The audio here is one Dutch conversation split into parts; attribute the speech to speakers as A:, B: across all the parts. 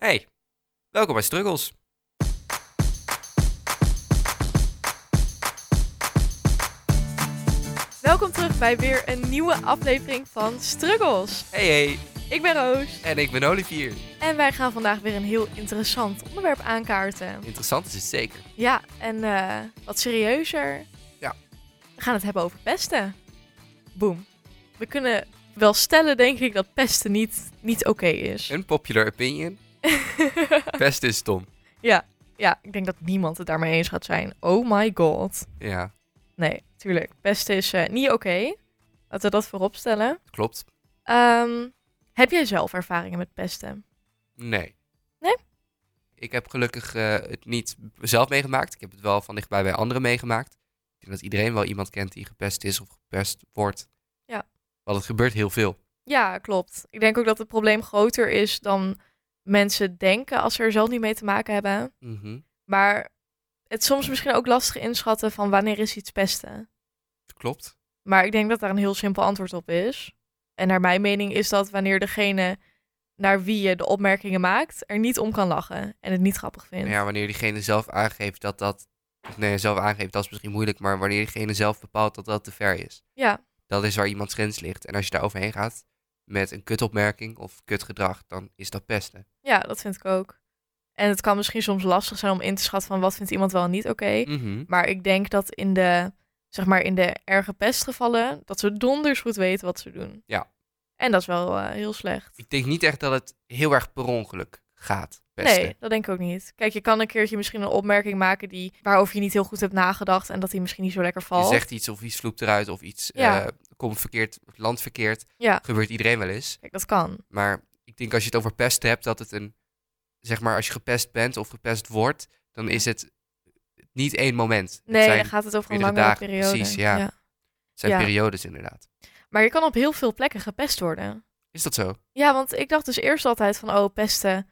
A: Hey, welkom bij Struggles.
B: Welkom terug bij weer een nieuwe aflevering van Struggles.
A: Hey hey,
B: Ik ben Roos
A: en ik ben Olivier.
B: en wij gaan vandaag weer een heel interessant onderwerp aankaarten.
A: Interessant is het zeker.
B: Ja, en eh, wat serieuzer.
A: Ja.
B: We gaan het hebben over pesten. Boom. We kunnen wel stellen, denk ik, dat pesten niet, niet oké is.
A: Een popular opinion. Best is stom.
B: ja, ik denk dat niemand het daarmee eens gaat zijn. Oh my god.
A: Ja,
B: Nee, tuurlijk. Pesten is eh, niet oké. Laten we dat voorop stellen.
A: klopt.
B: Ehm, heb jij zelf ervaringen met pesten?
A: Nee.
B: Nee?
A: Ik heb gelukkig eh, het niet zelf meegemaakt. Ik heb het wel van dichtbij bij anderen meegemaakt. Ik denk dat iedereen wel iemand kent die gepest is of gepest wordt.
B: Ja.
A: Want het gebeurt heel veel.
B: Ja, klopt. Ik denk ook dat het probleem groter is dan mensen denken als ze er zelf niet mee te maken hebben.
A: Mhm,
B: Maar het is soms misschien ook lastig inschatten van wanneer is iets pesten.
A: Klopt.
B: Maar ik denk dat daar een heel simpel antwoord op is. En naar mijn mening is dat wanneer degene naar wie je de opmerkingen maakt er niet om kan lachen en het niet grappig vindt.
A: Nou ja, wanneer diegene zelf aangeeft dat dat... Nee, zelf aangeeft, dat is misschien moeilijk. Maar wanneer diegene zelf bepaalt dat dat te ver is.
B: Ja,
A: Dat is waar iemands grens ligt. En als je daar overheen gaat met een kutopmerking of kutgedrag, dan is dat pesten.
B: ja, dat vind ik ook. En het kan misschien soms lastig zijn om in te schatten van wat vindt iemand wel en niet oké. Maar ik denk dat in de, zeg maar, in de erge pestgevallen, dat ze donders goed weten wat ze doen.
A: Ja.
B: En dat is wel eh, heel slecht.
A: Ik denk niet echt dat het heel erg per ongeluk gaat, pesten.
B: Nee, dat denk ik ook niet. Kijk, je kan een keertje misschien een opmerking maken die, waarover je niet heel goed hebt nagedacht en dat die misschien niet zo lekker
A: Je
B: valt.
A: zegt iets of iets vloept eruit of iets
B: Ja.
A: eh, komt verkeerd, land verkeerd.
B: Ja.
A: Gebeurt iedereen wel eens.
B: Kijk, dat kan.
A: Maar ik denk als je het over pesten hebt, dat het een... Zeg maar, als je gepest bent of gepest wordt, dan is het niet één moment. Het
B: Nee,
A: zijn,
B: dan gaat het over een
A: meerdere
B: langere
A: dagen,
B: periode.
A: precies, ja. het zijn
B: ja.
A: periodes inderdaad.
B: Maar je kan op heel veel plekken gepest worden.
A: Is dat zo?
B: Ja, want ik dacht dus eerst altijd van, oh, pesten,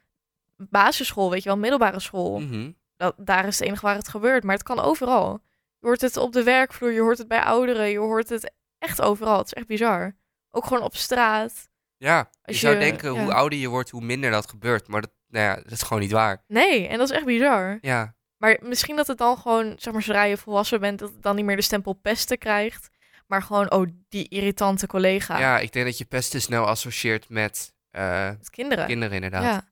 B: basisschool, weet je wel, middelbare school.
A: Mhm.
B: dat, daar is het enige waar het gebeurt. Maar het kan overal. Je hoort het op de werkvloer, je hoort het bij ouderen, je hoort het echt overal. Het is echt bizar. Ook gewoon op straat.
A: Ja, je,
B: Als
A: zou
B: je-
A: denken hoe
B: ja.
A: ouder je wordt, hoe minder dat gebeurt. Maar dat, nou ja, dat is gewoon niet waar.
B: Nee, en dat is echt bizar.
A: Ja,
B: Maar misschien dat het dan gewoon, zeg maar, zodra je volwassen bent, dat het dan niet meer de stempel pesten krijgt. Maar gewoon, oh, die irritante collega.
A: ja. ik denk dat je pesten snel associeert met eh,
B: Met kinderen.
A: kinderen inderdaad.
B: Ja.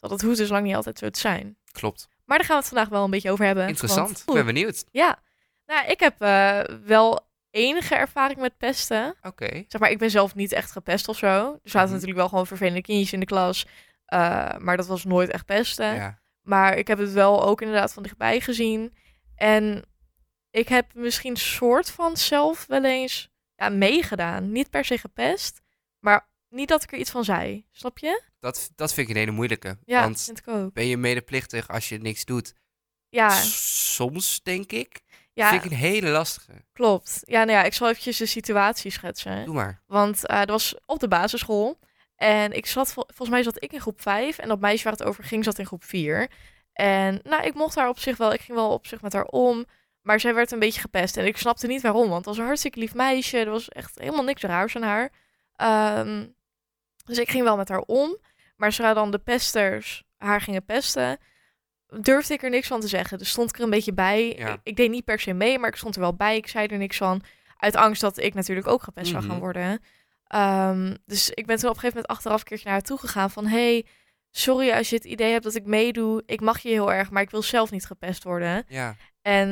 B: Dat het hoeft dus lang niet altijd zo te zijn.
A: Klopt.
B: Maar daar gaan we het vandaag wel een beetje over hebben.
A: Interessant.
B: want-
A: Ik ben benieuwd.
B: ja. Nou, ik heb eh, wel enige ervaring met pesten.
A: Oké.
B: zeg maar, ik ben zelf niet echt gepest of zo. Er zaten
A: Mhm.
B: natuurlijk wel gewoon vervelende kindjes in de klas. eh, maar dat was nooit echt pesten.
A: Ja.
B: Maar ik heb het wel ook inderdaad van dichtbij gezien. En ik heb misschien soort van zelf wel eens ja, meegedaan. Niet per se gepest, maar niet dat ik er iets van zei. Snap je?
A: Dat, dat vind ik een hele moeilijke.
B: Ja,
A: Want
B: vind ik ook.
A: ben je medeplichtig als je niks doet?
B: Ja,
A: S- Soms, denk ik.
B: ja
A: Vind ik een hele lastige.
B: klopt. Ja, nou ja, ik zal eventjes de situatie schetsen.
A: Doe maar.
B: Want eh dat was op de basisschool. En ik zat, vol- volgens mij zat ik in groep 5 en dat meisje waar het over ging zat in groep 4. En nou, ik mocht haar op zich wel, ik ging wel op zich met haar om. Maar zij werd een beetje gepest en ik snapte niet waarom. Want het was een hartstikke lief meisje, er was echt helemaal niks raars aan haar. Ehm, dus ik ging wel met haar om. Maar zodra dan de pesters haar gingen pesten, durfde ik er niks van te zeggen. Dus stond ik er een beetje bij.
A: Ja.
B: Ik, ik deed niet per se mee, maar ik stond er wel bij. Ik zei er niks van. Uit angst dat ik natuurlijk ook gepest zou
A: Mhm.
B: gaan worden. Ehm, dus ik ben toen op een gegeven moment achteraf een keertje naar haar toe gegaan van... Hey, sorry als je het idee hebt dat ik meedoe. Ik mag je heel erg, maar ik wil zelf niet gepest worden.
A: Ja.
B: En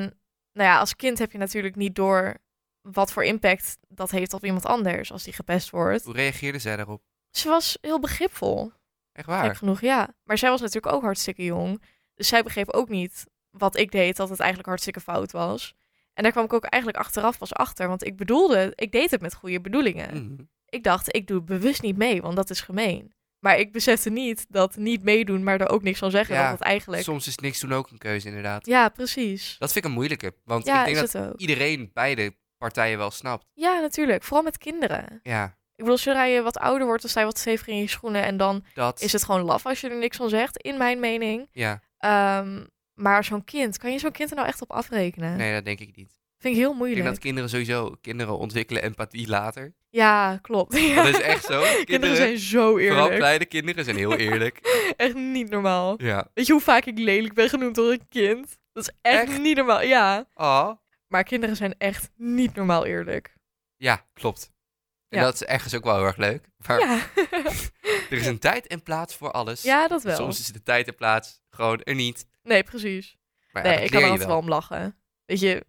B: nou ja, als kind heb je natuurlijk niet door wat voor impact dat heeft op iemand anders als die gepest wordt.
A: Hoe reageerde zij daarop?
B: Ze was heel begripvol,
A: Echt
B: gek
A: waar?
B: genoeg, ja. Maar zij was natuurlijk ook hartstikke jong. Dus zij begreep ook niet wat ik deed, dat het eigenlijk hartstikke fout was. En daar kwam ik ook eigenlijk achteraf pas achter, want ik bedoelde, ik deed het met goede bedoelingen.
A: Mhm.
B: Ik dacht, ik doe bewust niet mee, want dat is gemeen. Maar ik besefte niet dat niet meedoen, maar er ook niks van zeggen,
A: Ja,
B: dat het eigenlijk...
A: Soms is niks doen ook een keuze, inderdaad.
B: Ja, precies.
A: Dat vind ik een moeilijke. Want
B: Ja,
A: ik denk
B: is
A: dat
B: het ook.
A: iedereen beide partijen wel snapt.
B: Ja, natuurlijk. Vooral met kinderen.
A: Ja,
B: Ik bedoel, zodra je wat ouder wordt, dan sta je wat steviger in je schoenen. En dan
A: dat.
B: is het gewoon laf als je er niks van zegt, in mijn mening.
A: Ja,
B: Ehm, maar zo'n kind, kan je zo'n kind er nou echt op afrekenen?
A: nee, dat denk ik niet.
B: Vind ik heel
A: Ik
B: moeilijk.
A: denk dat kinderen sowieso, kinderen ontwikkelen empathie later.
B: Ja, klopt. Ja.
A: Dat is echt zo.
B: Kinderen zijn zo
A: vooral
B: eerlijk.
A: kleine kinderen, zijn heel eerlijk.
B: Echt niet normaal.
A: Ja.
B: Weet je hoe vaak ik lelijk ben genoemd door een kind? Dat is echt,
A: Echt?
B: niet normaal. Ja.
A: Ah.
B: Maar kinderen zijn echt niet normaal eerlijk.
A: Ja, klopt. En
B: Ja.
A: dat is ergens ook wel heel erg leuk. Maar
B: Ja,
A: er is een tijd en plaats voor alles.
B: ja dat
A: En
B: wel.
A: Soms is de tijd en plaats gewoon er niet.
B: Nee, precies.
A: Maar ja,
B: nee,
A: dat
B: ik kan er
A: leer je
B: altijd wel
A: wel.
B: om lachen. Weet je,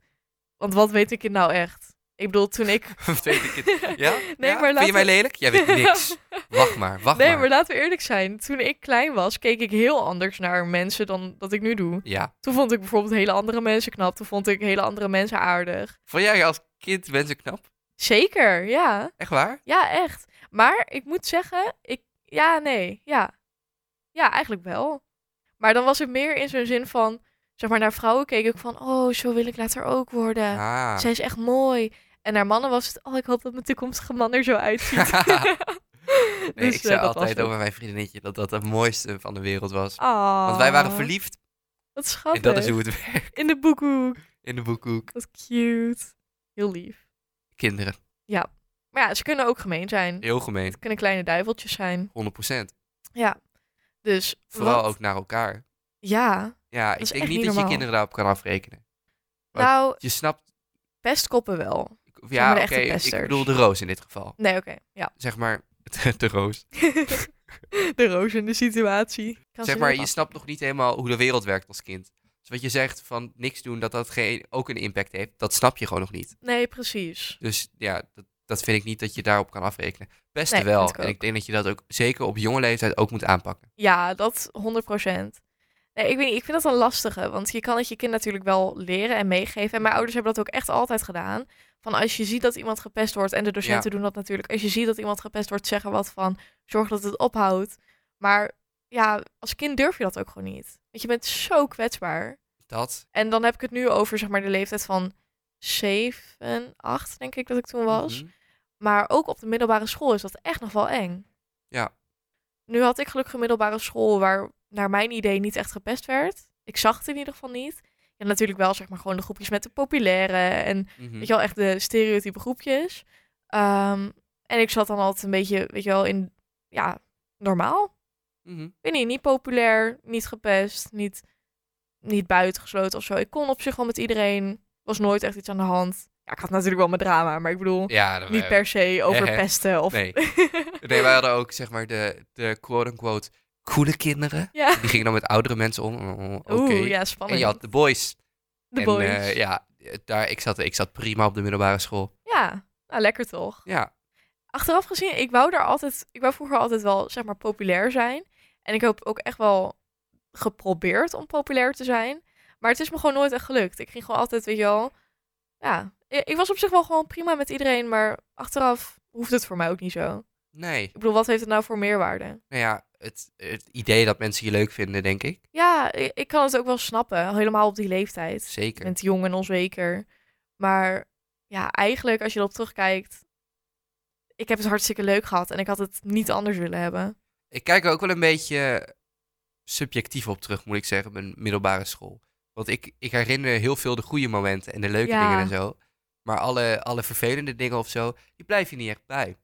B: want wat weet ik het nou echt? Ik bedoel, toen ik...
A: Of weet ik het. Ja?
B: Nee,
A: Ja?
B: maar
A: Vind
B: laten
A: je mij
B: we-
A: lelijk? Jij weet niks. Wacht maar, wacht
B: nee,
A: maar.
B: maar laten we eerlijk zijn. Toen ik klein was, keek ik heel anders naar mensen dan dat ik nu doe.
A: Ja.
B: Toen vond ik bijvoorbeeld hele andere mensen knap. Toen vond ik hele andere mensen aardig.
A: Vond jij als kind mensen knap?
B: Zeker, ja.
A: Echt waar?
B: Ja, echt. Maar ik moet zeggen, ik... Ja, nee, ja. Ja, eigenlijk wel. Maar dan was het meer in zo'n zin van... Zeg maar, naar vrouwen keek ik van... Oh, zo wil ik later ook worden.
A: Ah.
B: Zij is echt mooi. En naar mannen was het... Oh, ik hoop dat mijn toekomstige man er zo uitziet.
A: Nee, ik
B: Dus, eh,
A: zei
B: dat was het.
A: altijd over mijn vriendinnetje dat dat het mooiste van de wereld was.
B: Ah,
A: Want wij waren verliefd
B: Wat
A: en
B: schattig.
A: dat is hoe het werkt
B: In de boekhoek.
A: in de boekhoek.
B: Wat cute. Heel lief.
A: Kinderen,
B: Maar ja, ze kunnen ook gemeen zijn.
A: heel gemeen,
B: Het kunnen kleine duiveltjes zijn.
A: 100%.
B: Ja. Dus
A: Vooral
B: wat-
A: ook naar elkaar.
B: Ja.
A: Ja, ik
B: is
A: denk
B: echt
A: niet
B: niet
A: dat je
B: normaal.
A: kinderen daarop kan afrekenen. Wat?
B: Nou,
A: Je snapt,
B: pestkoppen wel.
A: ja,
B: de
A: oké,
B: echte
A: ik
B: pesters.
A: bedoel de roos in dit geval.
B: Nee, oké. Ja.
A: Zeg maar, de roos.
B: de roos in de situatie. Kan
A: Zeg
B: ze
A: maar,
B: heel
A: je
B: af-
A: snapt nog niet helemaal hoe de wereld werkt als kind. Dus wat je zegt van niks doen, dat dat geen, ook een impact heeft, dat snap je gewoon nog niet.
B: Nee, precies.
A: Dus ja, dat, dat vind ik niet dat je daarop kan afrekenen. Best
B: Nee,
A: wel.
B: vind ik
A: en
B: ook.
A: ik denk dat je dat ook zeker op jonge leeftijd ook moet aanpakken.
B: Ja, dat 100%. Nee, ik, weet niet, ik vind dat een lastige, want je kan het je kind natuurlijk wel leren en meegeven. En mijn ouders hebben dat ook echt altijd gedaan. Van als je ziet dat iemand gepest wordt, en de docenten doen dat natuurlijk. Als je ziet dat iemand gepest wordt, zeg er wat van. Zorg dat het ophoudt. Maar ja, als kind durf je dat ook gewoon niet. Want je bent zo kwetsbaar.
A: Dat
B: En dan heb ik het nu over zeg maar de leeftijd van 7, 8 denk ik dat ik toen was.
A: Mhm.
B: Maar ook op de middelbare school is dat echt nog wel eng.
A: Ja.
B: Nu had ik gelukkig een middelbare school waar naar mijn idee niet echt gepest werd. Ik zag het in ieder geval niet. Ja, natuurlijk wel zeg maar gewoon de groepjes met de populaire en
A: Mhm.
B: weet je wel echt de stereotype groepjes. Ehm, en ik zat dan altijd een beetje, weet je wel, in ja, normaal.
A: Mhm.
B: Ik weet niet, niet populair, niet gepest, niet, niet buitengesloten of zo. Ik kon op zich wel met iedereen, was nooit echt iets aan de hand. Ja, ik had natuurlijk wel mijn drama, maar ik bedoel,
A: Ja, dat
B: niet per se over
A: hè, hè.
B: pesten of...
A: Nee. Nee, wij hadden ook zeg maar de, de quote-unquote coole kinderen.
B: ja.
A: Die gingen dan met oudere mensen om. Oh, Oké.
B: Oeh, ja,
A: En
B: spannend.
A: je had de boys.
B: de
A: en,
B: boys.
A: eh,
B: ja.
A: ja, daar, ik, zat, ik zat prima op de middelbare school.
B: nou lekker toch.
A: Ja,
B: Achteraf gezien, ik wou daar altijd... Ik wou vroeger altijd wel, zeg maar, populair zijn. En ik heb ook echt wel geprobeerd om populair te zijn. Maar het is me gewoon nooit echt gelukt. Ik ging gewoon altijd, weet je wel... Ja, i- ik was op zich wel gewoon prima met iedereen. Maar achteraf hoeft het voor mij ook niet zo.
A: nee.
B: Ik bedoel, wat heeft het nou voor meerwaarde?
A: Nou ja, het, het idee dat mensen je leuk vinden, denk ik.
B: Ja, i- ik kan het ook wel snappen. Helemaal op die leeftijd.
A: Zeker.
B: Je bent jong en onzeker. Maar ja, eigenlijk als je erop terugkijkt, ik heb het hartstikke leuk gehad en ik had het niet anders willen hebben.
A: Ik kijk er ook wel een beetje subjectief op terug, moet ik zeggen, mijn middelbare school. Want ik, ik herinner heel veel de goede momenten en de leuke
B: Ja.
A: dingen en zo. Maar alle, alle vervelende dingen of zo, die blijf je niet echt bij.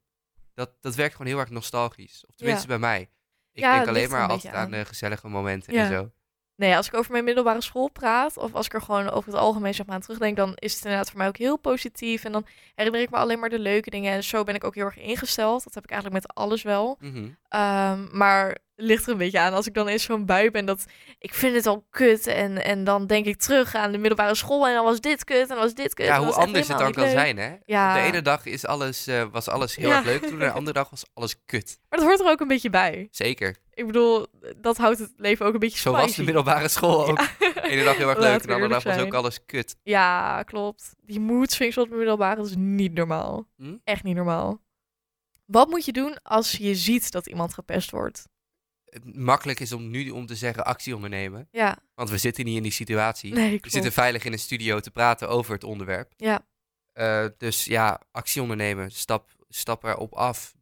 A: Dat, dat werkt gewoon heel erg nostalgisch. Of tenminste bij mij. Ik
B: Ja, het
A: denk alleen
B: ligt er
A: maar
B: een beetje
A: altijd aan.
B: aan.
A: de gezellige momenten
B: Ja.
A: en zo.
B: Nee, als ik over mijn middelbare school praat, of als ik er gewoon over het algemeen zeg maar aan terugdenk, dan is het inderdaad voor mij ook heel positief. En dan herinner ik me alleen maar de leuke dingen. En zo ben ik ook heel erg ingesteld. Dat heb ik eigenlijk met alles wel.
A: Mhm.
B: Ehm, maar het ligt er een beetje aan als ik dan eens zo'n bui ben dat ik vind het al kut. En, en dan denk ik terug aan de middelbare school en dan was dit kut en dan was dit kut.
A: Ja,
B: en dan
A: hoe
B: was echt
A: anders het dan
B: helemaal
A: kan
B: niet leuk.
A: zijn, hè?
B: Ja.
A: Op de ene dag is alles, eh, was alles heel
B: Ja.
A: erg leuk toen, en de andere dag was alles kut.
B: Maar dat hoort er ook een beetje bij.
A: Zeker.
B: Ik bedoel, dat houdt het leven ook een beetje
A: Zo
B: spicy.
A: was de middelbare school ook. De ene dag heel erg
B: Laten
A: leuk, en
B: we
A: de andere dag
B: eerlijk
A: was
B: zijn.
A: ook alles kut.
B: Ja, klopt. Die mood swings op de middelbare dat is niet normaal.
A: Hm?
B: Echt niet normaal. Wat moet je doen als je ziet dat iemand gepest wordt?
A: Het Makkelijk is om nu om te zeggen actie ondernemen,
B: Ja,
A: want we zitten niet in die situatie.
B: nee,
A: we
B: klopt.
A: zitten veilig in een studio te praten over het onderwerp.
B: Ja.
A: Eh, dus ja, actie ondernemen, stap, stap erop af,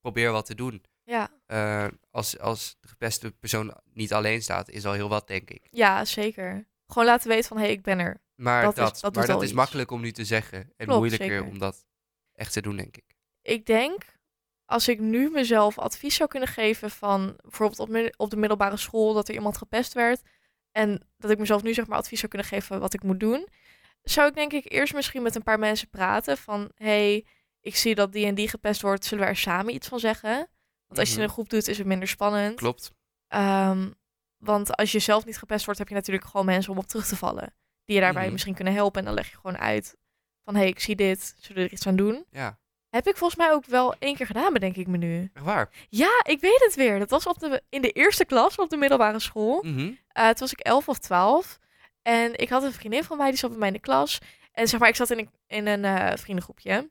A: probeer wat te doen.
B: ja.
A: Eh, als, als de gepeste persoon niet alleen staat, is al heel wat, denk ik.
B: ja, zeker. Gewoon laten weten van, hé, hey, ik ben er.
A: Maar
B: Dat
A: dat,
B: is- dat doet
A: maar dat
B: al
A: is
B: iets.
A: makkelijk om nu te zeggen. En
B: Klopt,
A: moeilijker
B: zeker.
A: om dat echt te doen, denk ik.
B: ik denk, als ik nu mezelf advies zou kunnen geven van bijvoorbeeld op, mi- op de middelbare school dat er iemand gepest werd. En dat ik mezelf nu zeg maar advies zou kunnen geven van wat ik moet doen. Zou ik denk ik eerst misschien met een paar mensen praten van hey, ik zie dat die en die gepest wordt, zullen we er samen iets van zeggen? Want als je het in
A: Mhm.
B: een groep doet, is het minder spannend.
A: Klopt.
B: Ehm, want als je zelf niet gepest wordt, heb je natuurlijk gewoon mensen om op terug te vallen. Die je daarbij
A: Mhm.
B: misschien kunnen helpen. En dan leg je gewoon uit van, hé, hey, ik zie dit. Zullen we er iets aan doen?
A: Ja,
B: Heb ik volgens mij ook wel één keer gedaan, bedenk ik me nu.
A: echt waar.
B: Ja, ik weet het weer. Dat was op de, in de eerste klas op de middelbare school.
A: Mhm.
B: Eh, toen was ik 11 of 12. En ik had een vriendin van mij, die zat bij mij in de klas. En zeg maar, ik zat in een, in een eh, vriendengroepje.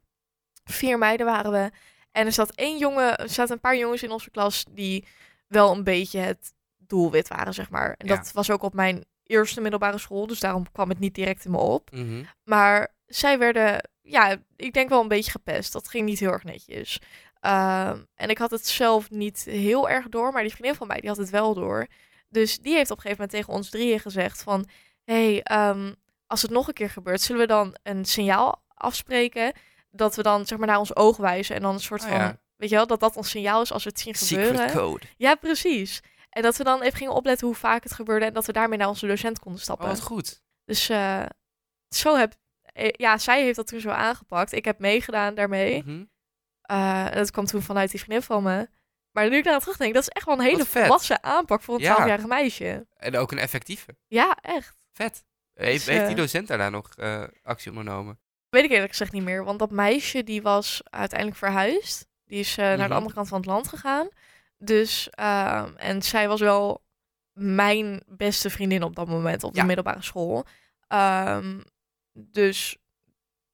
B: Vier meiden waren we. En er zat één jongen, er zaten een paar jongens in onze klas die wel een beetje het doelwit waren, zeg maar. En
A: Ja.
B: dat was ook op mijn eerste middelbare school, dus daarom kwam het niet direct in me op.
A: Mhm.
B: Maar zij werden, ja, ik denk wel een beetje gepest. Dat ging niet heel erg netjes. Ehm, en ik had het zelf niet heel erg door, maar die vriendin van mij die had het wel door. Dus die heeft op een gegeven moment tegen ons drieën gezegd van... hey, ehm, als het nog een keer gebeurt, zullen we dan een signaal afspreken... dat we dan zeg maar naar ons oog wijzen en dan een soort
A: Oh
B: van...
A: ja.
B: weet je wel, dat dat ons signaal is als we het zien gebeuren.
A: Secret code.
B: Ja, precies. En dat we dan even gingen opletten hoe vaak het gebeurde... en dat we daarmee naar onze docent konden
A: Oh,
B: stappen.
A: wat goed.
B: Dus eh, zo heb... eh, Ja, zij heeft dat toen zo aangepakt. Ik heb meegedaan daarmee.
A: Mhm.
B: Eh, en dat kwam toen vanuit die vriendin van me. Maar nu ik daar aan terugdenk, dat is echt wel een hele
A: Wat vet.
B: volwassen aanpak voor een
A: Ja.
B: 12-jarige meisje.
A: En ook een effectieve.
B: Ja, echt.
A: Vet. Heeft,
B: Dus,
A: heeft die
B: eh,
A: docent daarna nog eh, actie ondernomen?
B: Weet ik eerlijk gezegd niet meer, want dat meisje die was uiteindelijk verhuisd. Die is eh, naar
A: Mhm.
B: de andere kant van het land gegaan. Dus, ehm, en zij was wel mijn beste vriendin op dat moment op de
A: Ja.
B: middelbare school. Ehm, dus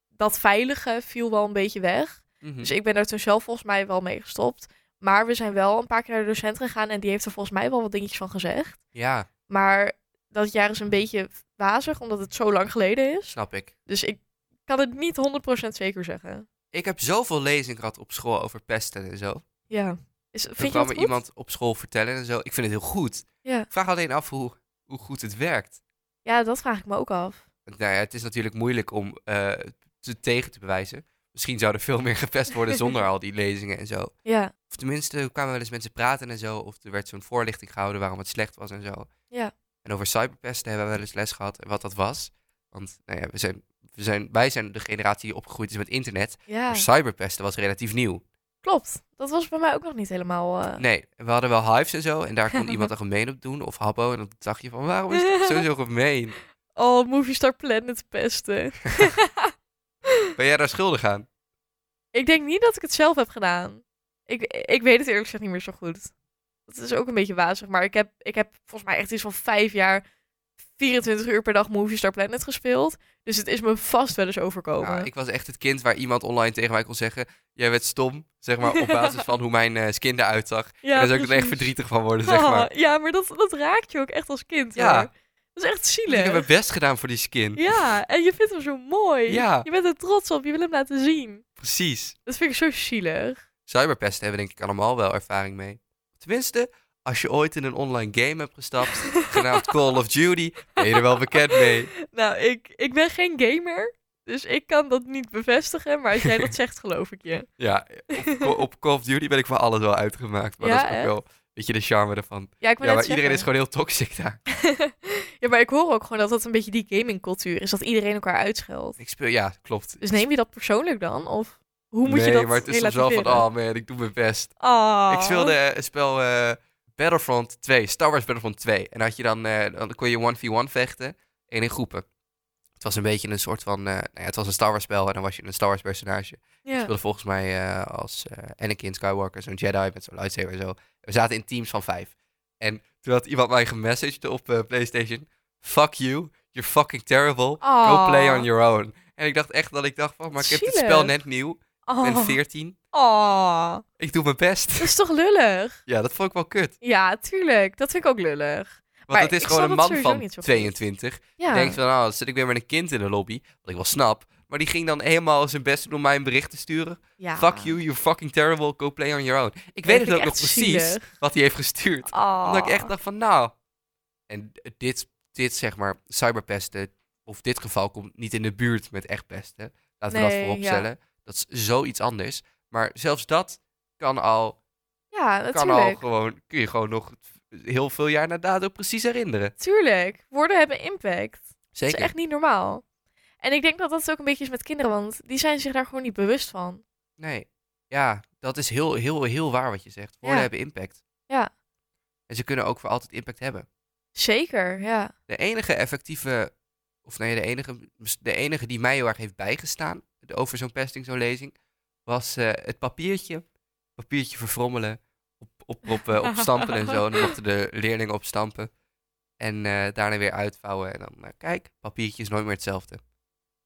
B: dat veilige viel wel een beetje weg.
A: Mhm.
B: Dus ik ben daar toen zelf volgens mij wel mee gestopt. Maar we zijn wel een paar keer naar de docent gegaan en die heeft er volgens mij wel wat dingetjes van gezegd.
A: Ja,
B: Maar dat jaar is een beetje wazig, omdat het zo lang geleden is.
A: snap ik.
B: Dus ik kan het niet 100% zeker zeggen.
A: Ik heb zoveel lezingen gehad op school over pesten en zo.
B: Ja. Is,
A: Dan
B: vind je
A: kwam
B: dat
A: me
B: goed?
A: iemand op school vertellen en zo. Ik vind het heel goed.
B: Ja.
A: Ik vraag alleen af hoe, hoe goed het werkt.
B: Ja, dat vraag ik me ook af.
A: Want, nou ja, het is natuurlijk moeilijk om eh, te tegen te bewijzen. Misschien zou er veel meer gepest worden zonder al die lezingen en zo.
B: Ja.
A: Of tenminste, er kwamen wel eens mensen praten en zo. Of er werd zo'n voorlichting gehouden waarom het slecht was en zo.
B: Ja.
A: En over cyberpesten hebben we wel eens les gehad en wat dat was. Want nou ja, we zijn, we zijn, wij zijn de generatie die opgegroeid is met internet.
B: Ja,
A: Maar cyberpesten was relatief nieuw.
B: Oh. klopt. Dat was bij mij ook nog niet helemaal... eh,
A: Nee, we hadden wel hives en zo. En daar kon iemand een gemeen op doen. Of habbo. En dan dacht je van, waarom is dat sowieso gemeen?
B: Oh, Movie Star Planet pesten.
A: Ben jij daar schuldig aan?
B: ik denk niet dat ik het zelf heb gedaan. Ik, ik weet het eerlijk gezegd niet meer zo goed. Het is ook een beetje wazig, maar ik heb, ik heb volgens mij echt iets van vijf jaar 24 uur per dag Movie Star Planet gespeeld. Dus het is me vast wel eens overkomen.
A: Nou, ik was echt het kind waar iemand online tegen mij kon zeggen... Jij werd stom, zeg maar, op basis van hoe mijn eh, skin eruit zag.
B: ja,
A: en daar zou ik er echt
B: precies.
A: verdrietig van worden, zeg maar.
B: Ah, ja, maar dat, dat raakt je ook echt als kind.
A: Ja.
B: hoor. Dat is echt
A: Dus ik
B: zielig.
A: heb mijn best gedaan voor die skin.
B: Ja, en je vindt hem zo mooi.
A: Ja.
B: Je bent er trots op, je wil hem laten zien.
A: Precies.
B: Dat vind ik zo zielig.
A: Cyberpesten hebben denk ik allemaal wel ervaring mee. Tenminste, als je ooit in een online game hebt gestapt... genaamd Call of Duty, ben je er wel bekend mee.
B: Nou, ik, ik ben geen gamer, dus ik kan dat niet bevestigen. Maar als jij dat zegt, geloof ik je.
A: Ja, op, op Call of Duty ben ik voor alles wel uitgemaakt. Maar
B: Ja,
A: dat is ook
B: hè?
A: wel, weet je, de charme ervan.
B: Ja, ik
A: Ja,
B: wil
A: maar
B: net
A: iedereen is
B: zeggen.
A: gewoon heel toxic daar.
B: ja, maar ik hoor ook gewoon dat dat een beetje die gamingcultuur is. Dat iedereen elkaar uitscheldt.
A: Ik speel, ja, klopt.
B: Dus neem je dat persoonlijk dan? Of hoe moet
A: nee,
B: je dat
A: maar het is soms wel van,
B: relativeren?
A: oh man, ik doe mijn best.
B: Ah.
A: Ik speelde eh, een spel eh, Battlefront 2, Star Wars Battlefront 2. En had je dan, eh, dan kon je 1v1 vechten, één in groepen. Het was een beetje een soort van, eh, nou ja, het was een Star Wars spel en dan was je een Star Wars personage.
B: Ja.
A: speelde volgens mij eh, als eh, Anakin Skywalker, zo'n Jedi met zo'n lightsaber en zo. We zaten in teams van vijf. En toen had iemand mij gemessaged op eh, PlayStation. Fuck you, you're fucking terrible. Go
B: Ah.
A: play on your own. En ik dacht echt dat ik dacht van, maar ik heb dit
B: Zielig.
A: spel net nieuw. Ik ben
B: Ah.
A: 14.
B: Ah.
A: Ik doe mijn best.
B: Dat is toch lullig?
A: ja, dat vond ik wel kut.
B: Ja, tuurlijk. Dat vind ik ook lullig.
A: Want
B: Maar
A: het is
B: ik
A: gewoon
B: snap
A: een man
B: dat sowieso
A: van
B: niet zo goed.
A: 22.
B: Ja.
A: Die denkt van, nou, dan zit ik weer met een kind in de lobby. Wat ik wel snap. Maar die ging dan helemaal zijn best doen om mij een bericht te sturen.
B: ja.
A: Fuck you, you're fucking terrible. Go play on your own. Ik
B: Dat
A: weet
B: vind
A: het ook
B: ik
A: nog
B: echt
A: precies.
B: zielig.
A: wat hij heeft gestuurd.
B: Ah.
A: Omdat ik echt dacht van, nou... En d- dit, dit zeg maar, cyberpesten, of dit geval komt niet in de buurt met echt pesten. Laten we dat
B: Nee,
A: voorop
B: ja.
A: stellen. Dat is zoiets anders. Maar zelfs dat kan al,
B: Ja,
A: kan al
B: natuurlijk.
A: gewoon, kun je gewoon nog heel veel jaar na dato precies herinneren.
B: Tuurlijk. Woorden hebben impact. Dat
A: Zeker.
B: is echt niet normaal. En ik denk dat dat het ook een beetje is met kinderen, want die zijn zich daar gewoon niet bewust van.
A: Nee. Ja, dat is heel, heel, heel waar wat je zegt. Woorden
B: Ja.
A: hebben impact.
B: Ja.
A: En ze kunnen ook voor altijd impact hebben.
B: Zeker, ja.
A: De enige effectieve, of nee, de enige, de enige die mij heel erg heeft bijgestaan over zo'n pesting, zo'n lezing, was eh, het papiertje. Papiertje verfrommelen, op, op, op, eh, opstampen en zo. En dan mochten de leerlingen opstampen. En eh, daarna weer uitvouwen. En dan, eh, kijk, papiertje is nooit meer hetzelfde.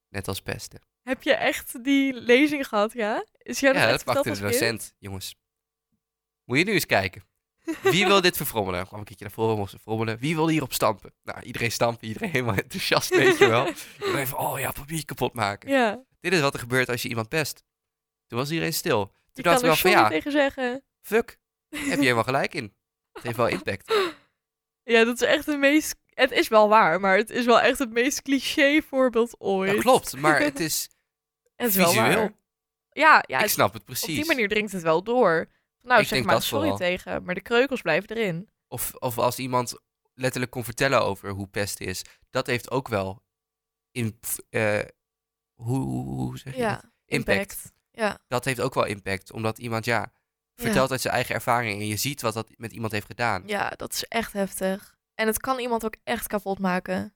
A: Net als pesten.
B: Heb je echt die lezing gehad, ja? Is jou
A: Ja, dat dus
B: dat echt verteld
A: pakte de
B: als kind?
A: docent, jongens. Moet je nu eens kijken. Wie wil dit verfrommelen? Dan kwam ik een keertje naar voren, moest verfrommelen. Wie wil hierop stampen? Nou, iedereen stampen, iedereen helemaal enthousiast, weet je wel. Iedereen van, oh ja, papier kapot maken.
B: Ja,
A: Dit is wat er gebeurt als je iemand pest. Toen was iedereen stil.
B: je
A: dacht ik
B: kan
A: wel
B: er
A: van,
B: sorry
A: ja.
B: tegen zeggen.
A: Fuck, heb je helemaal gelijk in. Het heeft wel impact.
B: Ja, dat is echt het meest... Het is wel waar, maar het is wel echt het meest cliché voorbeeld ooit.
A: Dat klopt, maar het is,
B: Het is wel waar.
A: visueel.
B: Ja, ja
A: ik
B: het,
A: snap het
B: op
A: precies.
B: die manier dringt het wel door. Nou,
A: Ik
B: zeg
A: denk
B: maar
A: dat
B: sorry
A: vooral.
B: tegen, maar de kreukels blijven erin.
A: Of, of als iemand letterlijk kon vertellen over hoe pest is. Dat heeft ook wel in, eh, hoe, hoe- hoe zeg je dat?
B: Ja,
A: dat heeft ook wel impact. Omdat iemand, ja, vertelt uit zijn eigen ervaring. En je ziet wat dat met iemand heeft gedaan.
B: ja, dat is echt heftig. En het kan iemand ook echt kapot maken. Het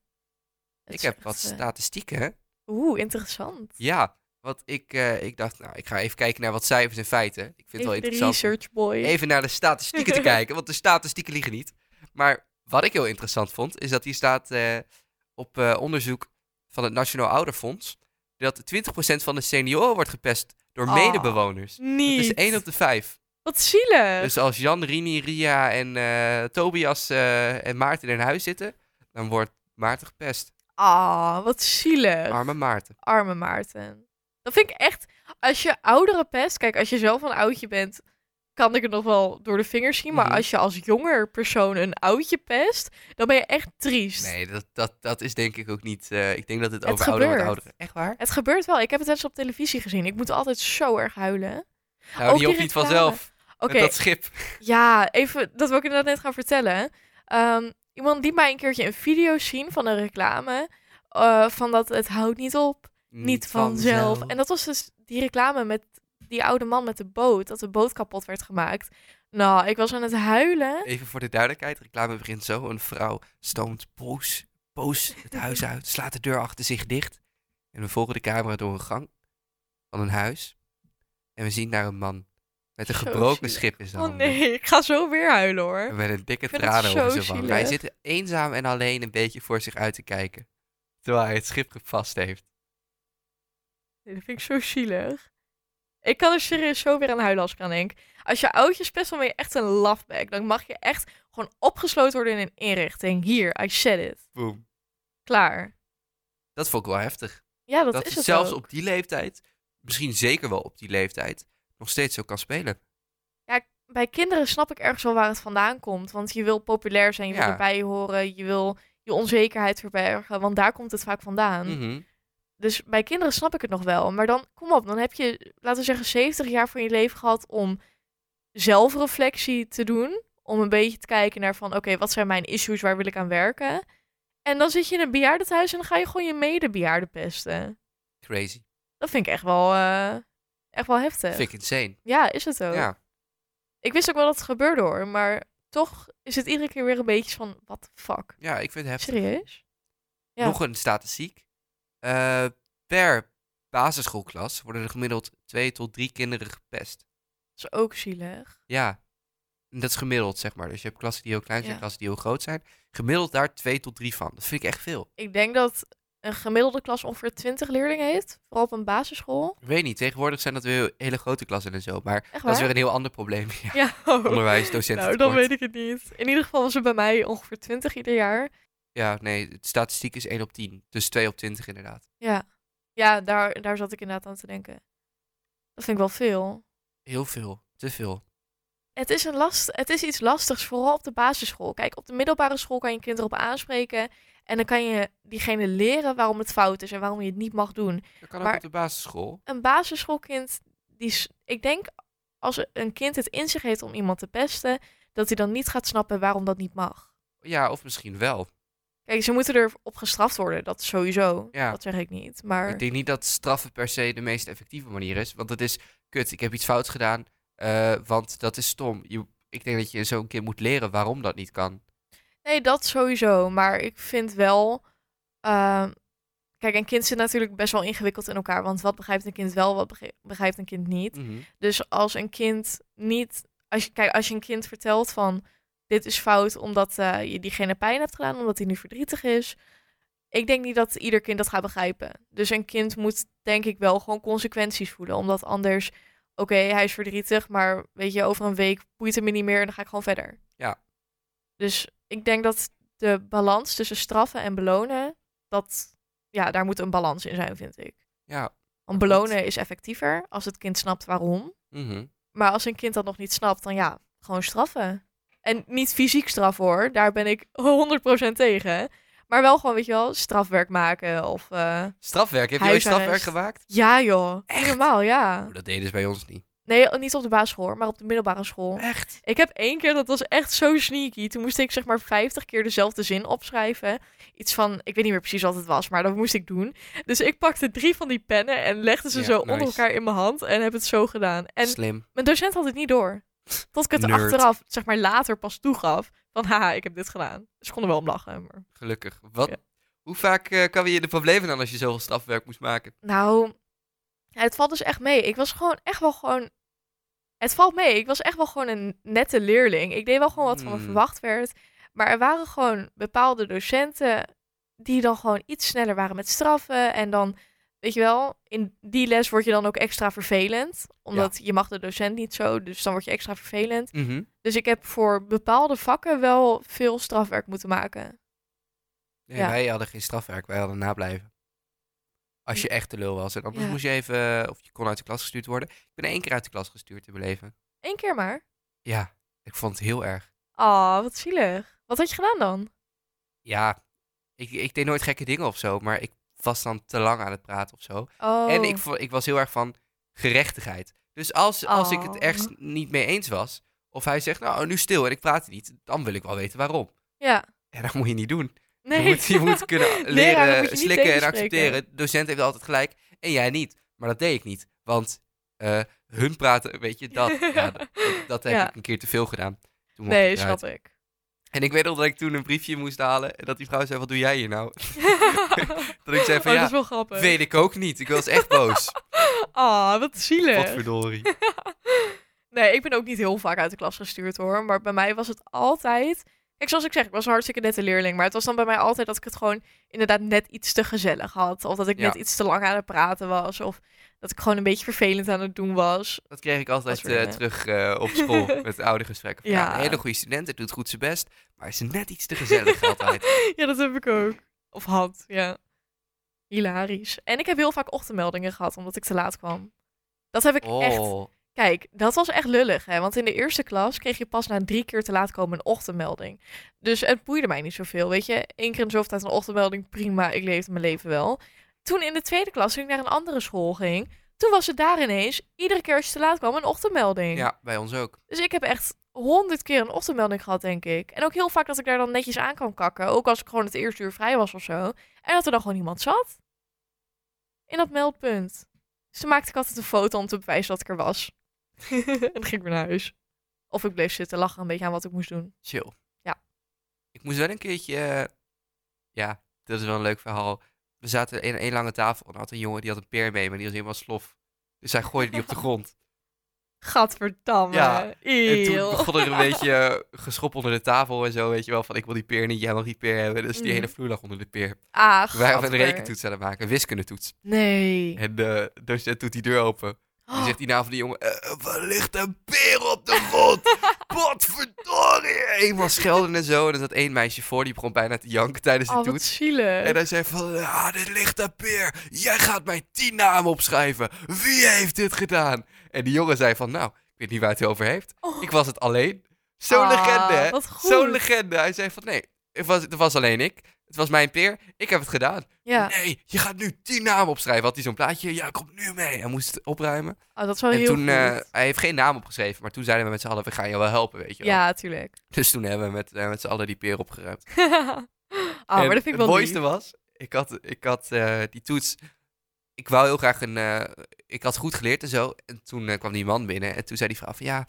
A: ik
B: is
A: heb
B: echt,
A: wat
B: eh,
A: statistieken.
B: Oeh, interessant.
A: Ja, want ik, eh, ik dacht, nou, ik ga even kijken naar wat cijfers en feiten. Ik vind het wel
B: Even de
A: interessant. om
B: research boy.
A: Even naar de statistieken te kijken, want de statistieken liegen niet. Maar wat ik heel interessant vond, is dat hier staat eh, op eh, onderzoek van het Nationaal Ouderfonds... dat 20% van de senioren wordt gepest door
B: Ah,
A: medebewoners.
B: Niet. Eh.
A: Dat is 1 op de 5.
B: Wat zielig.
A: Dus als Jan, Rini, Ria en eh, Tobias eh, en Maarten in huis zitten, dan wordt Maarten gepest.
B: Ah, wat zielig.
A: Arme Maarten.
B: Arme Maarten. Dat vind ik echt... Als je ouderen pest... Kijk, als je zelf een oudje bent... kan ik het nog wel door de vingers zien. Maar
A: Mhm.
B: als je als jonger persoon een oudje pest... dan ben je echt triest.
A: Nee, dat, dat, dat is denk ik ook niet. eh, ik denk dat het
B: Het
A: over ouder wordt
B: gebeurt.
A: ouder. Echt waar?
B: Het gebeurt wel. Ik heb het wel eens op televisie gezien. Ik moet altijd zo erg huilen.
A: Nou,
B: ook
A: die hoeft
B: die
A: niet
B: reclame.
A: vanzelf.
B: Oké,
A: Met dat schip.
B: ja, even... Dat wil ik inderdaad net gaan vertellen. Ehm, iemand liet mij een keertje een video zien van een reclame... eh, van dat het houdt niet op. niet vanzelf. En dat was dus die reclame met die oude man met de boot, dat de boot kapot werd gemaakt. Nou, ik was aan het huilen.
A: Even voor de duidelijkheid, reclame begint zo. Een vrouw stoomt boos, boos het huis uit, slaat de deur achter zich dicht. En we volgen de camera door een gang van een huis. En we zien daar een man met een
B: Zo
A: gebroken
B: zielig.
A: schip in zijn
B: Oh
A: handen.
B: nee, ik ga zo weer huilen hoor.
A: Met een dikke
B: Ik vind het
A: tranen over
B: zo
A: zijn wang.
B: zielig.
A: Hij zit eenzaam en alleen een beetje voor zich uit te kijken. Terwijl hij het schip gevast heeft.
B: Nee, Dat vind ik zo zielig. Ik kan er serieus zo weer aan huilen als ik aan denk. Als je oudjes best wel ben je echt een lafback. Dan mag je echt gewoon opgesloten worden in een inrichting. Hier, I said it.
A: Boom.
B: Klaar.
A: Dat vond ik wel heftig.
B: Ja, dat,
A: Dat,
B: is
A: het
B: het
A: zelfs
B: ook.
A: op die leeftijd, misschien zeker wel op die leeftijd, nog steeds zo kan spelen.
B: bij kinderen snap ik ergens wel waar het vandaan komt. Want je wil populair zijn, je
A: Ja.
B: wil erbij horen, je wil je onzekerheid verbergen. Want daar komt het vaak vandaan.
A: Mhm.
B: Dus bij kinderen snap ik het nog wel. Maar dan, kom op, dan heb je, laten we zeggen, 70 jaar van je leven gehad om zelfreflectie te doen. Om een beetje te kijken naar van, oké, wat zijn mijn issues, waar wil ik aan werken? En dan zit je in een bejaardentehuis en dan ga je gewoon je medebejaarden pesten.
A: Crazy.
B: Dat vind ik echt wel, eh, echt wel heftig.
A: Vind ik insane.
B: Ja, is het ook.
A: Ja.
B: Ik wist ook wel dat het gebeurde hoor, maar toch is het iedere keer weer een beetje van, what the fuck?
A: ja, ik vind het heftig.
B: Serieus? Ja.
A: Nog een statistiek. Eh, per basisschoolklas worden er gemiddeld twee tot drie kinderen gepest.
B: Dat is ook zielig.
A: Ja, en dat is gemiddeld, zeg maar. Dus je hebt klassen die heel klein zijn,
B: Ja.
A: klassen die heel groot zijn. Gemiddeld daar twee tot drie van. Dat vind ik echt veel.
B: Ik denk dat een gemiddelde klas ongeveer 20 leerlingen heeft, vooral op een basisschool.
A: Ik weet niet, tegenwoordig zijn dat weer heel- hele grote klassen en zo. Maar
B: Echt
A: dat is
B: waar?
A: weer een heel ander probleem. Ja,
B: Ja,
A: onderwijs, docenten
B: Nou, dan weet ik het niet. In ieder geval was het bij mij ongeveer 20 ieder jaar.
A: Ja, nee, de statistiek is 1 op 10. Dus 2 op 20 inderdaad.
B: Ja, ja daar, daar zat ik inderdaad aan te denken. Dat vind ik wel veel.
A: Heel veel, te veel.
B: Het is, een last, het is iets lastigs, vooral op de basisschool. Kijk, op de middelbare school kan je kinderen op aanspreken. En dan kan je diegene leren waarom het fout is en waarom je het niet mag doen.
A: Dat kan ook
B: Maar-
A: op de basisschool.
B: Een basisschoolkind, die, s- ik denk als een kind het in zich heeft om iemand te pesten, dat hij dan niet gaat snappen waarom dat niet mag.
A: Ja, of misschien wel.
B: Kijk, ze moeten erop gestraft worden, dat sowieso.
A: Ja.
B: Dat zeg ik niet. Maar
A: Ik denk niet dat straffen per se de meest effectieve manier is. Want het is, kut, ik heb iets fouts gedaan, eh, want dat is stom. Je, ik denk dat je zo'n kind moet leren waarom dat niet kan.
B: nee, dat sowieso. Maar ik vind wel. ehm, kijk, een kind zit natuurlijk best wel ingewikkeld in elkaar. Want wat begrijpt een kind wel, wat begri- begrijpt een kind niet.
A: Mhm.
B: Dus als een kind niet. Als je, kijk, als je een kind vertelt van. Dit is fout omdat eh, je diegene pijn hebt gedaan, omdat hij nu verdrietig is. Ik denk niet dat ieder kind dat gaat begrijpen. Dus een kind moet, denk ik, wel gewoon consequenties voelen. Omdat anders, oké, hij is verdrietig, maar weet je, over een week boeit het me niet meer en dan ga ik gewoon verder.
A: Ja.
B: Dus ik denk dat de balans tussen straffen en belonen, dat, ja, daar moet een balans in zijn, vind ik.
A: Ja. Klopt.
B: Want belonen is effectiever als het kind snapt waarom.
A: mhm.
B: Maar als een kind dat nog niet snapt, dan ja, gewoon straffen. En niet fysiek straf hoor, daar ben ik 100% tegen. Maar wel gewoon, weet je wel, strafwerk maken of... eh,
A: Strafwerk, heb je ooit
B: Huisarrest.
A: strafwerk gemaakt?
B: Ja joh, helemaal ja.
A: Oh, dat deden ze bij ons niet.
B: Nee, niet op de basisschool, hoor, maar op de middelbare school.
A: Echt?
B: Ik heb één keer, dat was echt zo sneaky. Toen moest ik zeg maar 50 keer dezelfde zin opschrijven. Iets van, ik weet niet meer precies wat het was, maar dat moest ik doen. Dus ik pakte drie van die pennen en legde ze
A: Ja,
B: zo onder
A: nice.
B: elkaar in mijn hand en heb het zo gedaan. En
A: Slim.
B: Mijn docent had het niet door. Tot ik het
A: Nerd.
B: achteraf, zeg maar later pas toegaf. Van haha, ik heb dit gedaan. Ze konden wel om lachen. Maar...
A: Gelukkig. Wat?
B: Ja.
A: Hoe vaak eh kwamen je de problemen dan als je zoveel strafwerk moest maken?
B: Nou, ja, het valt dus echt mee. Ik was gewoon echt wel gewoon... Het valt mee. Ik was echt wel gewoon een nette leerling. Ik deed wel gewoon wat van me
A: Hmm.
B: verwacht werd. Maar er waren gewoon bepaalde docenten die dan gewoon iets sneller waren met straffen. En dan, weet je wel, in die les word je dan ook extra vervelend. Omdat je mag de docent niet zo, dus dan word je extra vervelend.
A: Mhm.
B: Dus ik heb voor bepaalde vakken wel veel strafwerk moeten maken.
A: Nee,
B: Ja.
A: wij hadden geen strafwerk, wij hadden nablijven. Als je echt te lul was. En anders
B: Ja.
A: moest je even, eh, of je kon uit de klas gestuurd worden. Ik ben één keer uit de klas gestuurd in mijn leven.
B: Eén keer maar.
A: Ja, ik vond het heel erg.
B: Ah, wat zielig. Wat had je gedaan dan?
A: Ja, ik, ik deed nooit gekke dingen of zo, maar ik was dan te lang aan het praten of zo.
B: Oh,
A: En ik, vo- ik was heel erg van gerechtigheid. Dus als, als ik het
B: Oh.
A: ergens niet mee eens was, of hij zegt, nou, nu stil en ik praat niet, dan wil ik wel weten waarom.
B: ja.
A: En dat moet je niet doen.
B: Nee.
A: Je, moet, je moet kunnen leren
B: Leraren moet je niet
A: slikken en
B: tegenspreken.
A: accepteren. De docent heeft altijd gelijk en jij niet. Maar dat deed ik niet, want eh, hun praten, weet je, dat, ja, dat, dat heb
B: Ja.
A: ik een keer te veel gedaan. Toen mocht
B: Nee,
A: ik eruit.
B: snap ik.
A: En ik weet nog dat ik toen een briefje moest halen en dat die vrouw zei, wat doe jij hier nou? Dat ik zei van,
B: oh, dat
A: ja,
B: is wel grappig.
A: weet ik ook niet. Ik was echt boos.
B: Ah, wat zielig.
A: Potverdorie.
B: Nee, ik ben ook niet heel vaak uit de klas gestuurd hoor. Maar bij mij was het altijd. Kijk, zoals ik zeg, ik was een hartstikke nette leerling. Maar het was dan bij mij altijd dat ik het gewoon inderdaad net iets te gezellig had. Of dat ik
A: Ja.
B: net iets te lang aan het praten was. Of dat ik gewoon een beetje vervelend aan het doen was.
A: Dat kreeg ik altijd
B: Dat
A: eh,
B: soort dingen.
A: terug eh, op school met oude gesprekken. Van, ja.
B: Ja.
A: een hele goede student, hij doet goed zijn best, maar is net iets te gezellig altijd.
B: Ja, dat heb ik ook. Of had, ja. Hilarisch. En ik heb heel vaak ochtendmeldingen gehad omdat ik te laat kwam. Dat heb ik echt.
A: Oh,
B: Kijk, dat was echt lullig, hè? Want in de eerste klas kreeg je pas na drie keer te laat komen een ochtendmelding. Dus het boeide mij niet zoveel, weet je. Eén keer in de zoveel tijd een ochtendmelding, prima, ik leefde mijn leven wel. Toen in de tweede klas, toen ik naar een andere school ging, toen was het daar ineens iedere keer als je te laat kwam een ochtendmelding.
A: ja, bij ons ook.
B: Dus ik heb echt honderd keer een ochtendmelding gehad, denk ik. En ook heel vaak dat ik daar dan netjes aan kan kakken. Ook als ik gewoon het eerste uur vrij was of zo. En dat er dan gewoon niemand zat. In dat meldpunt. Dus toen maakte ik altijd een foto om te bewijzen dat ik er was. en dan ging ik weer naar huis. Of ik bleef zitten lachen een beetje aan wat ik moest doen.
A: Chill.
B: Ja.
A: Ik moest wel een keertje... eh, ja, dat is wel een leuk verhaal. We zaten in één lange tafel en er had een jongen die had een peer mee, maar die was helemaal slof. Dus hij gooide die op de grond.
B: Gadverdamme.
A: Ja, En toen
B: Eeuw.
A: begon er een beetje eh, geschop onder de tafel en zo, weet je wel. Van ik wil die peer niet, jij mag die peer hebben. Dus die
B: Mhm.
A: hele vloer lag onder de peer.
B: Ah,
A: Wij hadden een
B: gadver.
A: rekentoets aan het maken, een wiskundetoets.
B: Nee. Oh,
A: En de docent doet die deur open. En zegt die naam van die jongen, "Eh, er ligt een peer op de grond. Potverdorie. Eenmaal schelden en zo. En er zat één meisje voor, die begon bijna te janken tijdens de
B: Oh, wat
A: toets.
B: zielig.
A: En hij zei van, ah, dit ligt een peer. Jij gaat mijn tien namen opschrijven. Wie heeft dit gedaan? En die jongen zei van, nou, ik weet niet waar het over heeft.
B: Oh.
A: Ik was het alleen. Zo'n
B: Ah,
A: legende, hè?
B: wat
A: Zo'n
B: goed.
A: legende. Hij zei van, nee, Ik was, het was alleen ik. Het was mijn peer. Ik heb het gedaan.
B: Ja,
A: Nee, je gaat nu tien namen opschrijven. Had hij zo'n plaatje? Ja, kom nu mee. Hij moest het opruimen.
B: oh, dat is wel
A: en
B: heel
A: toen, eh,
B: goed.
A: hij heeft geen naam opgeschreven. Maar toen zeiden we met z'n allen, we gaan je wel helpen, weet je wel.
B: ja, tuurlijk.
A: Dus toen hebben we met, eh, met z'n allen die peer opgeruimd.
B: Ah,
A: En
B: maar dat vind ik wel
A: Het
B: lief.
A: mooiste was, ik had, ik had eh, die toets. Ik wou heel graag een. eh, ik had goed geleerd en zo. En toen eh, kwam die man binnen. En toen zei die vrouw van ja,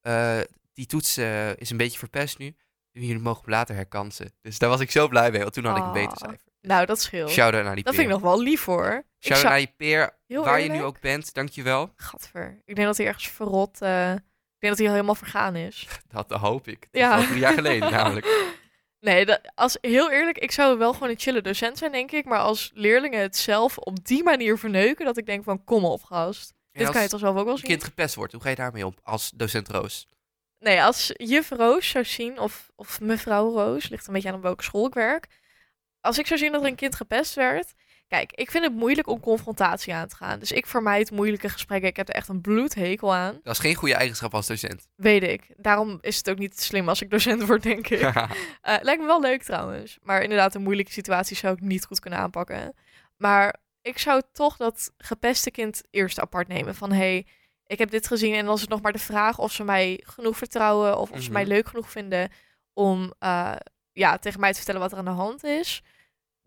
A: eh, die toets eh, is een beetje verpest nu. Jullie mogen hem later herkansen. Dus daar was ik zo blij mee, want toen had ik een beter
B: Ah,
A: cijfer.
B: Nou, dat scheelt.
A: Shout-out naar die
B: Dat
A: peer.
B: vind ik nog wel lief hoor. Ik
A: Shout-out
B: zou...
A: naar die peer,
B: Heel
A: waar je
B: eerlijk?
A: nu ook bent. Dankjewel.
B: Gadver. Ik denk dat hij ergens verrot. eh, Ik denk dat hij al helemaal vergaan is.
A: Dat hoop ik. Dat
B: Ja.
A: was drie jaar geleden namelijk.
B: Nee, dat, als, heel eerlijk, ik zou wel gewoon een chille docent zijn, denk ik. Maar als leerlingen het zelf op die manier verneuken, dat ik denk van kom op, gast.
A: En
B: Dit kan je
A: als
B: toch zelf ook wel
A: een
B: zien?
A: kind gepest wordt, hoe ga je daarmee om als docent Roos?
B: Nee, als juf Roos zou zien, of, of mevrouw Roos, ligt een beetje aan op welke school ik werk. Als ik zou zien dat er een kind gepest werd. Kijk, ik vind het moeilijk om confrontatie aan te gaan. Dus ik vermijd moeilijke gesprekken. Ik heb er echt een bloedhekel aan.
A: Dat is geen goede eigenschap als docent.
B: Weet ik. Daarom is het ook niet slim als ik docent word, denk ik. Eh, lijkt me wel leuk trouwens. Maar inderdaad, een moeilijke situatie zou ik niet goed kunnen aanpakken. Maar ik zou toch dat gepeste kind eerst apart nemen. Van hé, hey, ik heb dit gezien. En dan is het nog maar de vraag of ze mij genoeg vertrouwen. Of of ze mij
A: Mhm.
B: leuk genoeg vinden om eh, ja, tegen mij te vertellen wat er aan de hand is.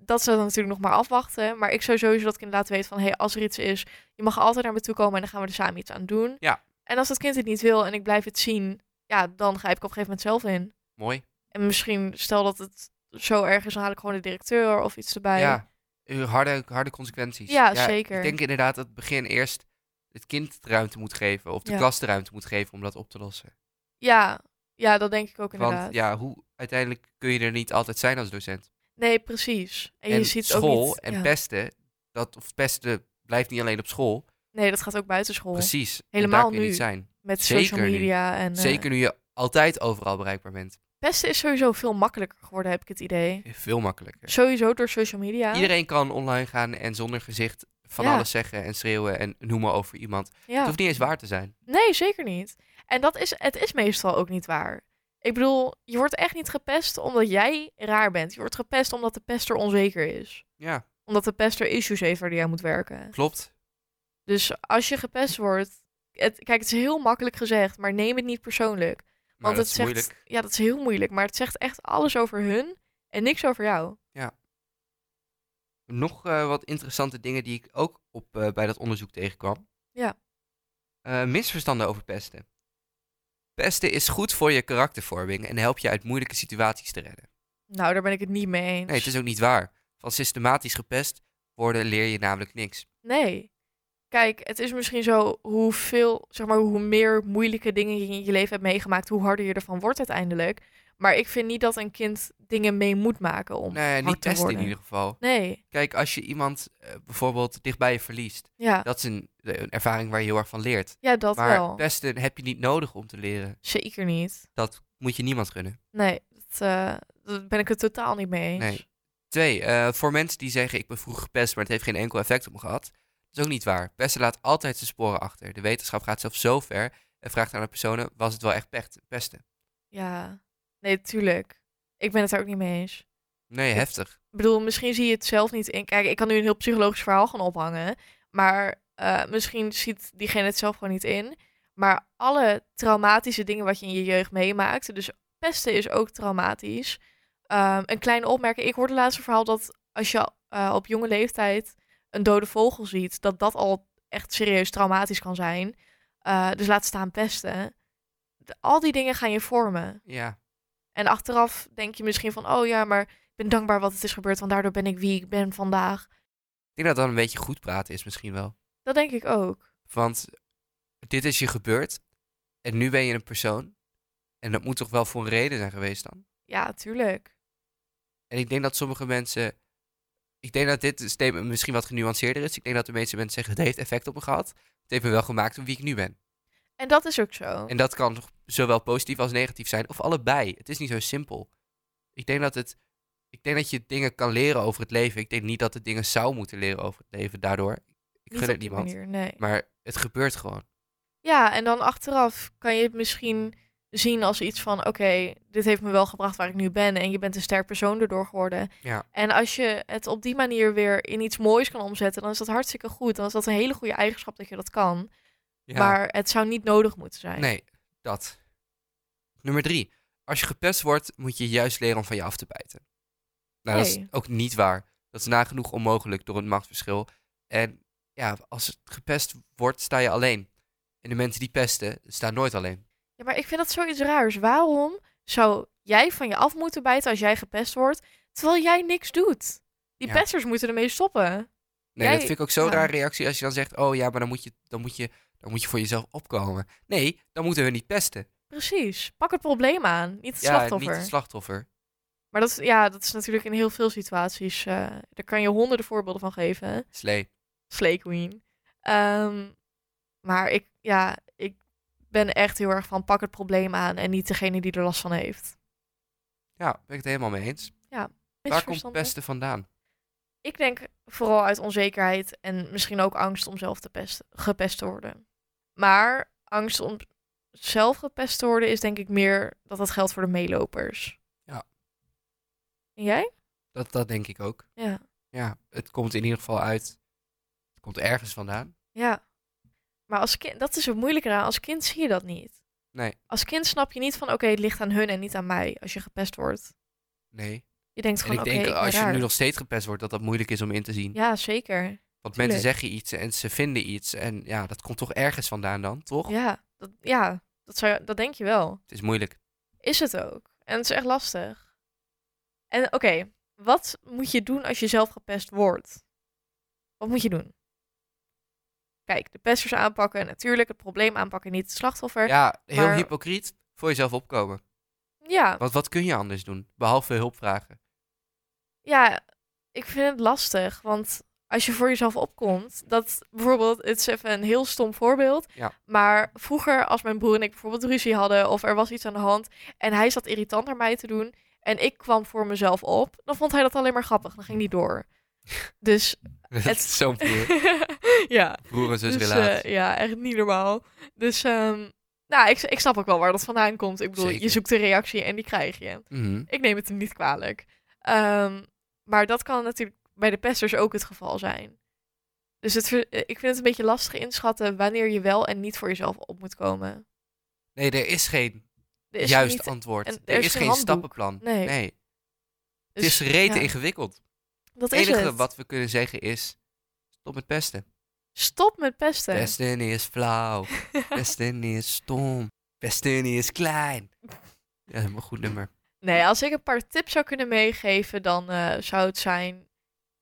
B: Dat zou dan natuurlijk nog maar afwachten. Maar ik zou sowieso dat kind laten weten van... hé, hey, als er iets is, je mag altijd naar me toe komen... en dan gaan we er samen iets aan doen.
A: Ja.
B: En als dat kind het niet wil en ik blijf het zien... ja, dan grijp ik op een gegeven moment zelf in.
A: Mooi.
B: En misschien, stel dat het zo erg is, dan haal ik gewoon de directeur of iets erbij.
A: Ja, eh, harde, harde consequenties.
B: Ja, zeker.
A: Ik denk inderdaad dat het begin eerst het kind de ruimte moet geven. Of de
B: Ja.
A: klas de ruimte moet geven om dat op te lossen.
B: ja, ja, dat denk ik ook inderdaad.
A: Want ja, hoe, uiteindelijk kun je er niet altijd zijn als docent.
B: Nee, precies. En, je ziet het
A: school
B: ook niet,
A: en
B: ja.
A: pesten, dat, of pesten blijft niet alleen op school.
B: Nee, dat gaat ook buiten school.
A: Precies. En
B: Helemaal
A: daar kun je
B: nu.
A: niet zijn.
B: Met
A: Zeker
B: social
A: niet.
B: media en... eh,
A: Zeker nu je altijd overal bereikbaar bent.
B: Pesten is sowieso veel makkelijker geworden, heb ik het idee.
A: Veel makkelijker.
B: Sowieso door social media.
A: Iedereen kan online gaan en zonder gezicht van
B: Ja.
A: alles zeggen en schreeuwen en noemen over iemand. Het
B: Ja.
A: hoeft niet eens waar te zijn.
B: Nee, zeker niet. En dat is, het is meestal ook niet waar. Ik bedoel, je wordt echt niet gepest omdat jij raar bent. Je wordt gepest omdat de pester onzeker is.
A: Ja,
B: Omdat de pester issues heeft waar die aan moet werken.
A: klopt.
B: Dus als je gepest wordt. Het, kijk, het is heel makkelijk gezegd, maar neem het niet persoonlijk.
A: Maar dat
B: Want het
A: is
B: zegt.
A: moeilijk.
B: Ja, dat is heel moeilijk. Maar het zegt echt alles over hun en niks over jou.
A: nog eh, wat interessante dingen die ik ook op, eh, bij dat onderzoek tegenkwam.
B: Ja.
A: Eh, misverstanden over pesten. Pesten is goed voor je karaktervorming en helpt je uit moeilijke situaties te redden.
B: Nou, daar ben ik het niet mee eens.
A: Nee, het is ook niet waar. Van systematisch gepest worden leer je namelijk niks.
B: Nee. Kijk, het is misschien zo hoeveel, zeg maar, hoe meer moeilijke dingen je in je leven hebt meegemaakt, hoe harder je ervan wordt uiteindelijk. Maar ik vind niet dat een kind dingen mee moet maken om
A: Nee,
B: hard
A: niet
B: te
A: pesten in
B: worden.
A: ieder geval.
B: Nee,
A: Kijk, als je iemand eh, bijvoorbeeld dichtbij je verliest,
B: ja,
A: dat is een, eh, een ervaring waar je heel erg van leert.
B: ja dat
A: maar
B: wel.
A: pesten heb je niet nodig om te leren.
B: Zeker niet.
A: Dat moet je niemand gunnen.
B: Nee, dat, eh, daar ben ik het totaal niet mee eens.
A: Nee. Twee, eh, voor mensen die zeggen ik ben vroeg gepest, maar het heeft geen enkel effect op me gehad. Dat is ook niet waar. Pesten laat altijd zijn sporen achter. De wetenschap gaat zelfs zo ver en vraagt aan de personen, was het wel echt pecht- pesten?
B: Ja, nee, tuurlijk. Ik ben het daar ook niet mee eens.
A: Nee, heftig.
B: Ik bedoel, misschien zie je het zelf niet in. Kijk, ik kan nu een heel psychologisch verhaal gaan ophangen. Maar eh, misschien ziet diegene het zelf gewoon niet in. Maar alle traumatische dingen wat je in je jeugd meemaakt. Dus pesten is ook traumatisch. Ehm, een kleine opmerking. Ik hoorde laatst een verhaal dat als je eh, op jonge leeftijd een dode vogel ziet, dat dat al echt serieus traumatisch kan zijn. Eh, dus laat staan pesten. De- al die dingen gaan je vormen.
A: Ja,
B: En achteraf denk je misschien van, oh ja, maar ik ben dankbaar wat het is gebeurd, want daardoor ben ik wie ik ben vandaag.
A: ik denk dat dat een beetje goed praten is misschien wel.
B: Dat denk ik ook.
A: Want dit is je gebeurd en nu ben je een persoon. En dat moet toch wel voor een reden zijn geweest dan?
B: Ja, tuurlijk.
A: En ik denk dat sommige mensen... Ik denk dat dit statement misschien wat genuanceerder is. Ik denk dat de meeste mensen zeggen, het heeft effect op me gehad. Het heeft me wel gemaakt om wie ik nu ben.
B: En dat is ook zo.
A: En dat kan zowel positief als negatief zijn, of allebei. Het is niet zo simpel. Ik denk dat, het, ik denk dat je dingen kan leren over het leven. Ik denk niet dat het dingen zou moeten leren over het leven daardoor. Ik
B: Niet
A: gun
B: op
A: het
B: die
A: niemand.
B: manier, nee.
A: Maar het gebeurt gewoon.
B: Ja, en dan achteraf kan je het misschien zien als iets van: oké, dit heeft me wel gebracht waar ik nu ben. En je bent een sterk persoon erdoor geworden.
A: Ja.
B: En als je het op die manier weer in iets moois kan omzetten, dan is dat hartstikke goed. Dan is dat een hele goede eigenschap dat je dat kan.
A: Ja.
B: Maar het zou niet nodig moeten zijn.
A: Nee, dat. Nummer drie. Als je gepest wordt, moet je juist leren om van je af te bijten. Nou, dat
B: Nee.
A: is ook niet waar. Dat is nagenoeg onmogelijk door het machtsverschil. En ja, als het gepest wordt, sta je alleen. En de mensen die pesten, staan nooit alleen.
B: Ja, maar ik vind dat zoiets raars. Waarom zou jij van je af moeten bijten als jij gepest wordt, terwijl jij niks doet? Die
A: Ja.
B: pesters moeten ermee stoppen.
A: Nee,
B: Jij-
A: dat vind ik ook zo'n
B: ja.
A: raar reactie als je dan zegt... oh ja, maar dan moet, je, dan, moet je, dan moet je voor jezelf opkomen. Nee, dan moeten we niet pesten.
B: Precies. Pak het probleem aan, niet het
A: ja,
B: slachtoffer.
A: niet het slachtoffer.
B: Maar dat, is- ja, dat is natuurlijk in heel veel situaties. eh, daar kan je honderden voorbeelden van geven.
A: Slee.
B: Slay Queen. Ehm, maar ik, ja, ik ben echt heel erg van pak het probleem aan en niet degene die er last van heeft.
A: Ja, ben ik het helemaal mee eens. Waar komt
B: Misverstanden.
A: pesten vandaan?
B: Ik denk vooral uit onzekerheid en misschien ook angst om zelf te pesten, gepest te worden. Maar angst om zelf gepest te worden is denk ik meer dat dat geldt voor de meelopers.
A: Ja.
B: En jij?
A: Dat, dat denk ik ook.
B: Ja.
A: Ja, het komt in ieder geval uit. Het komt ergens vandaan.
B: Ja. Maar als kind, dat is het moeilijke aan. Als kind zie je dat niet.
A: Nee.
B: Als kind snap je niet van, oké, het ligt aan hun en niet aan mij als je gepest wordt.
A: Nee.
B: Je denkt
A: En
B: gewoon,
A: ik
B: oké,
A: denk
B: ik ben
A: als je
B: raar.
A: nu nog steeds gepest wordt, dat dat moeilijk is om in te zien.
B: Ja, zeker.
A: Want mensen
B: tuurlijk.
A: zeggen iets en ze vinden iets. En ja, dat komt toch ergens vandaan dan, toch?
B: Ja, dat, ja dat, zou, dat denk je wel.
A: Het is moeilijk.
B: Is het ook. En het is echt lastig. En oké, wat moet je doen als je zelf gepest wordt? Wat moet je doen? Kijk, de pesters aanpakken, natuurlijk. Het probleem aanpakken, niet het slachtoffer.
A: Ja, heel
B: maar-
A: hypocriet voor jezelf opkomen.
B: ja.
A: Want wat kun je anders doen? Behalve hulp vragen.
B: Ja, ik vind het lastig, want als je voor jezelf opkomt, dat bijvoorbeeld, het is even een heel stom voorbeeld,
A: Ja.
B: maar vroeger als mijn broer en ik bijvoorbeeld ruzie hadden of er was iets aan de hand en hij zat irritant naar mij te doen en ik kwam voor mezelf op, dan vond hij dat alleen maar grappig, dan ging die door. Dus
A: Dat
B: Het-
A: is Zo'n broer,
B: ja,
A: broer en zus
B: dus, eh,
A: relatie.
B: ja, echt niet normaal. Dus ehm, nou, ik, ik snap ook wel waar dat vandaan komt. Ik bedoel, je
A: Zeker.
B: zoekt een reactie en die krijg je.
A: Mhm.
B: Ik neem het hem niet kwalijk. Ehm, maar dat kan natuurlijk bij de pesters ook het geval zijn. Dus het, ver- eh, ik vind het een beetje lastig inschatten wanneer je wel en niet voor jezelf op moet komen.
A: Nee, er is geen
B: Er is
A: juist
B: niet-
A: antwoord.
B: en
A: er, is, geen,
B: handboek.
A: stappenplan.
B: Nee.
A: Het is
B: dus-
A: rete
B: ja,
A: ingewikkeld.
B: Dat
A: Het enige
B: is het.
A: wat we kunnen zeggen is... Stop met pesten.
B: Stop met pesten.
A: Destiny is flauw. Destiny is stom. Destiny is klein. Ja, helemaal goed nummer.
B: Nee, als ik een paar tips zou kunnen meegeven, dan eh, zou het zijn: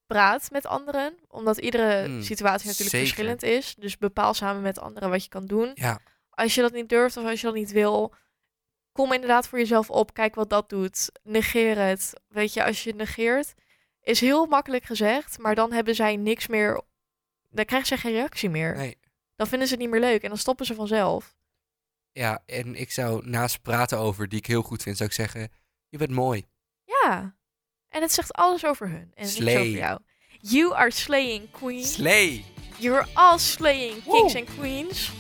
B: praat met anderen. Omdat iedere
A: Mm,
B: situatie natuurlijk
A: zeker.
B: verschillend is. Dus bepaal samen met anderen wat je kan doen.
A: Ja.
B: Als je dat niet durft of als je dat niet wil, kom inderdaad voor jezelf op. Kijk wat dat doet. Negeer het. Weet je, als je het negeert, is heel makkelijk gezegd, maar dan hebben zij niks meer. Dan krijgen zij geen reactie meer.
A: Nee.
B: Dan vinden ze het niet meer leuk en dan stoppen ze vanzelf.
A: Ja, en ik zou naast praten over, die ik heel goed vind, zou ik zeggen... Je bent mooi.
B: Ja. En het zegt alles over hun en niks
A: Slay.
B: over jou. You are slaying queen.
A: Slee.
B: You're all slaying kings
A: Woe.
B: and queens.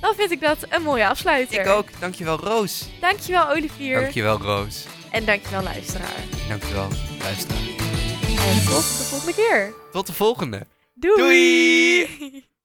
B: Dan vind ik dat een mooie afsluiter.
A: Ik ook. Dankjewel, Roos.
B: Dankjewel Olivier.
A: Dankjewel, Roos.
B: En dankjewel luisteraar.
A: Dankjewel, luisteraar.
B: En tot de volgende keer.
A: Tot de volgende.
B: Doei!
A: Doei!